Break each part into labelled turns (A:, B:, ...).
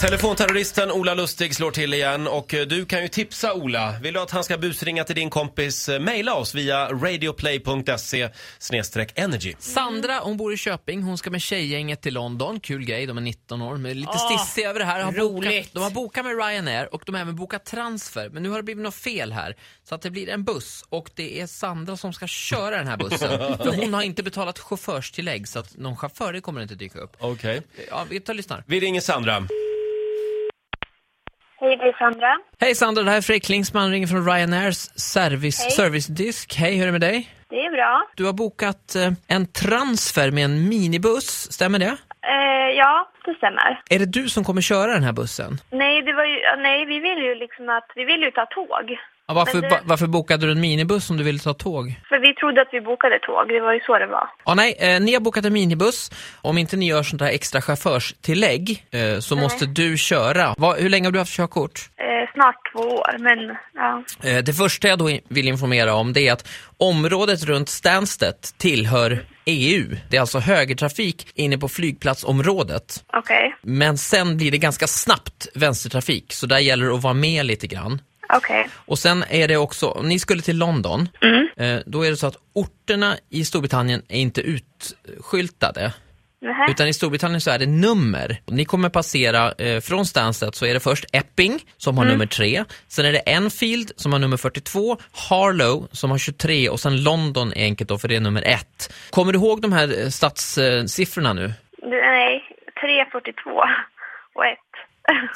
A: Telefonterroristen Ola Lustig slår till igen och eh, du kan ju tipsa Ola. Vill du att han ska busringa till din kompis? eh, Mejla oss via radioplay.se energy.
B: Sandra, hon bor i Köping. Hon ska med tjejgänget till London. Kul grej, de är 19 år. Men lite stissiga över det här. Har bokat,
C: roligt.
B: de har bokat med Ryanair och de har även bokat transfer. Men nu har det blivit något fel här. Så att det blir en buss och det är Sandra som ska köra den här bussen. För hon har inte betalat chaufförstillägg så att någon chaufför det kommer inte dyka upp.
A: Okej.
B: Ja, vi tar och lyssnar.
A: Vi ringer Sandra.
D: Hej, det är Sandra.
B: Hej Sandra, det här är Fredrik Klingsman. Ringer från Ryanairs service, servicedisk. Hej, hur är det med dig?
D: Det är bra.
B: Du har bokat eh, en transfer med en minibuss, stämmer det?
D: Eh, ja, det stämmer.
B: Är det du som kommer köra den här bussen?
D: Nej, det var ju, ja, nej, vi vill ju liksom att, vi vill ju ta tåg.
B: Ja, varför,
D: Men det-
B: va- varför bokade du en minibuss om du ville ta tåg?
D: För vi trodde att vi bokade tåg, det var ju så det var.
B: Ja, nej, eh, ni har bokat en minibuss. Om inte ni gör sånt här extra chaufförstillägg eh, så måste du köra. Va, hur länge har du haft körkort?
D: Eh, snart två år, men ja.
B: Eh, det första jag då i- vill informera om det är att området runt Stansted tillhör EU. Det är alltså högertrafik inne på flygplatsområdet.
D: Okej,
B: Men sen blir det ganska snabbt vänstertrafik, så där gäller det att vara med lite grann.
D: okej.
B: Och sen är det också, om ni skulle till London, eh, då är det så att orterna i Storbritannien är inte utskyltade.
D: Nähä.
B: Utan i Storbritannien så är det nummer. Och Ni kommer passera eh, från Stansted så är det först Epping som har nummer 3. Sen är det Enfield som har nummer 42, Harlow som har 23 och sen London är enkelt då för det är nummer 1. Kommer du ihåg de här eh, stadssiffrorna nu?
D: Du, nej, 3.42 och 1.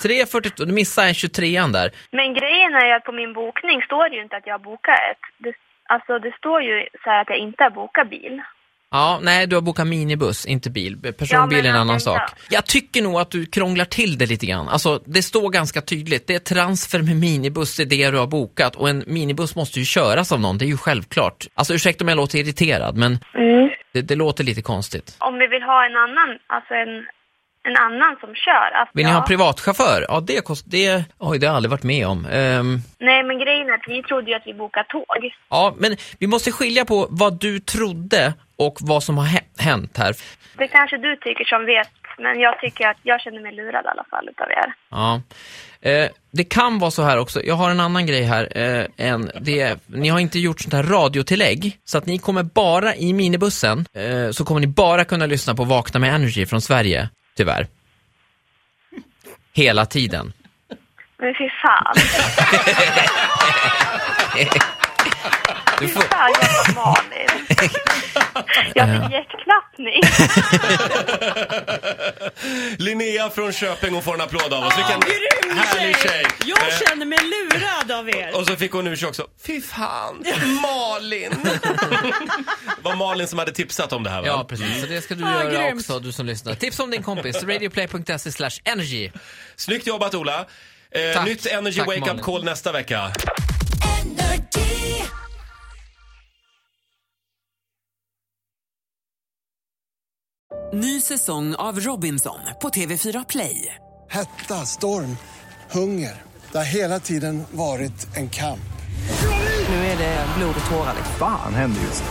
B: 3, 42, du missade en 23 där.
D: Men grejen är ju att på min bokning står det ju inte att jag bokar ett. Det, alltså, det står ju så här att jag inte har bokat bil.
B: Ja, nej, du har bokat minibuss, inte bil. Personbil är en
D: jag
B: annan
D: tänkte-
B: sak. Jag tycker nog att du krånglar till det lite grann. Alltså, det står ganska tydligt. Det är transfer med minibuss, det är det du har bokat. Och en minibuss måste ju köras av någon, det är ju självklart. Alltså, ursäkta om jag låter irriterad, men det, det låter lite konstigt.
D: Om vi vill ha en annan, alltså en, en annan som kör. Alltså,
B: Vill ni
D: ja.
B: ha en privatchaufför? Ja, det kostar... Det, oj, det har jag aldrig varit med om. Ehm,
D: Nej, men grejen är att vi trodde ju att vi bokade tåg.
B: ja, men vi måste skilja på vad du trodde och vad som har hä- hänt här.
D: Det kanske du tycker som vet, men jag tycker att jag känner mig lurad i alla fall utav er.
B: Ja. Eh, det kan vara så här också, jag har en annan grej här. Eh, än det, ni har inte gjort sånt här radiotillägg, så att ni kommer bara i minibussen, eh, så kommer ni bara kunna lyssna på Vakna med Energy från Sverige, tyvärr. Hela tiden.
D: Men fy fan.
B: Du
D: Fy
B: får,
D: fan, jag var Malin. Jag fick hjärtklappning.
A: Linnea från Köping, hon får en applåd av oss. Vilken härlig tjej!
C: Jag
A: Eh,
C: känner mig lurad av er.
A: Och så fick hon ur sig också, fy fan, Malin! var Malin som hade tipsat om det här va?
B: ja, precis. Så det ska du
C: Ah,
B: göra
C: grymt.
B: också, du som lyssnar. Tips om din kompis, radioplay.se slash energy.
A: Snyggt jobbat Ola! Eh,
B: Tack.
A: Nytt Energy
B: Tack,
A: Wake Up
B: Malin.
A: Call nästa vecka.
E: Ny säsong av Robinson på TV4 Play.
F: Hetta, storm, hunger. Det har hela tiden varit en kamp.
E: Nu är det blod och tårar.
G: Fan händer just nu.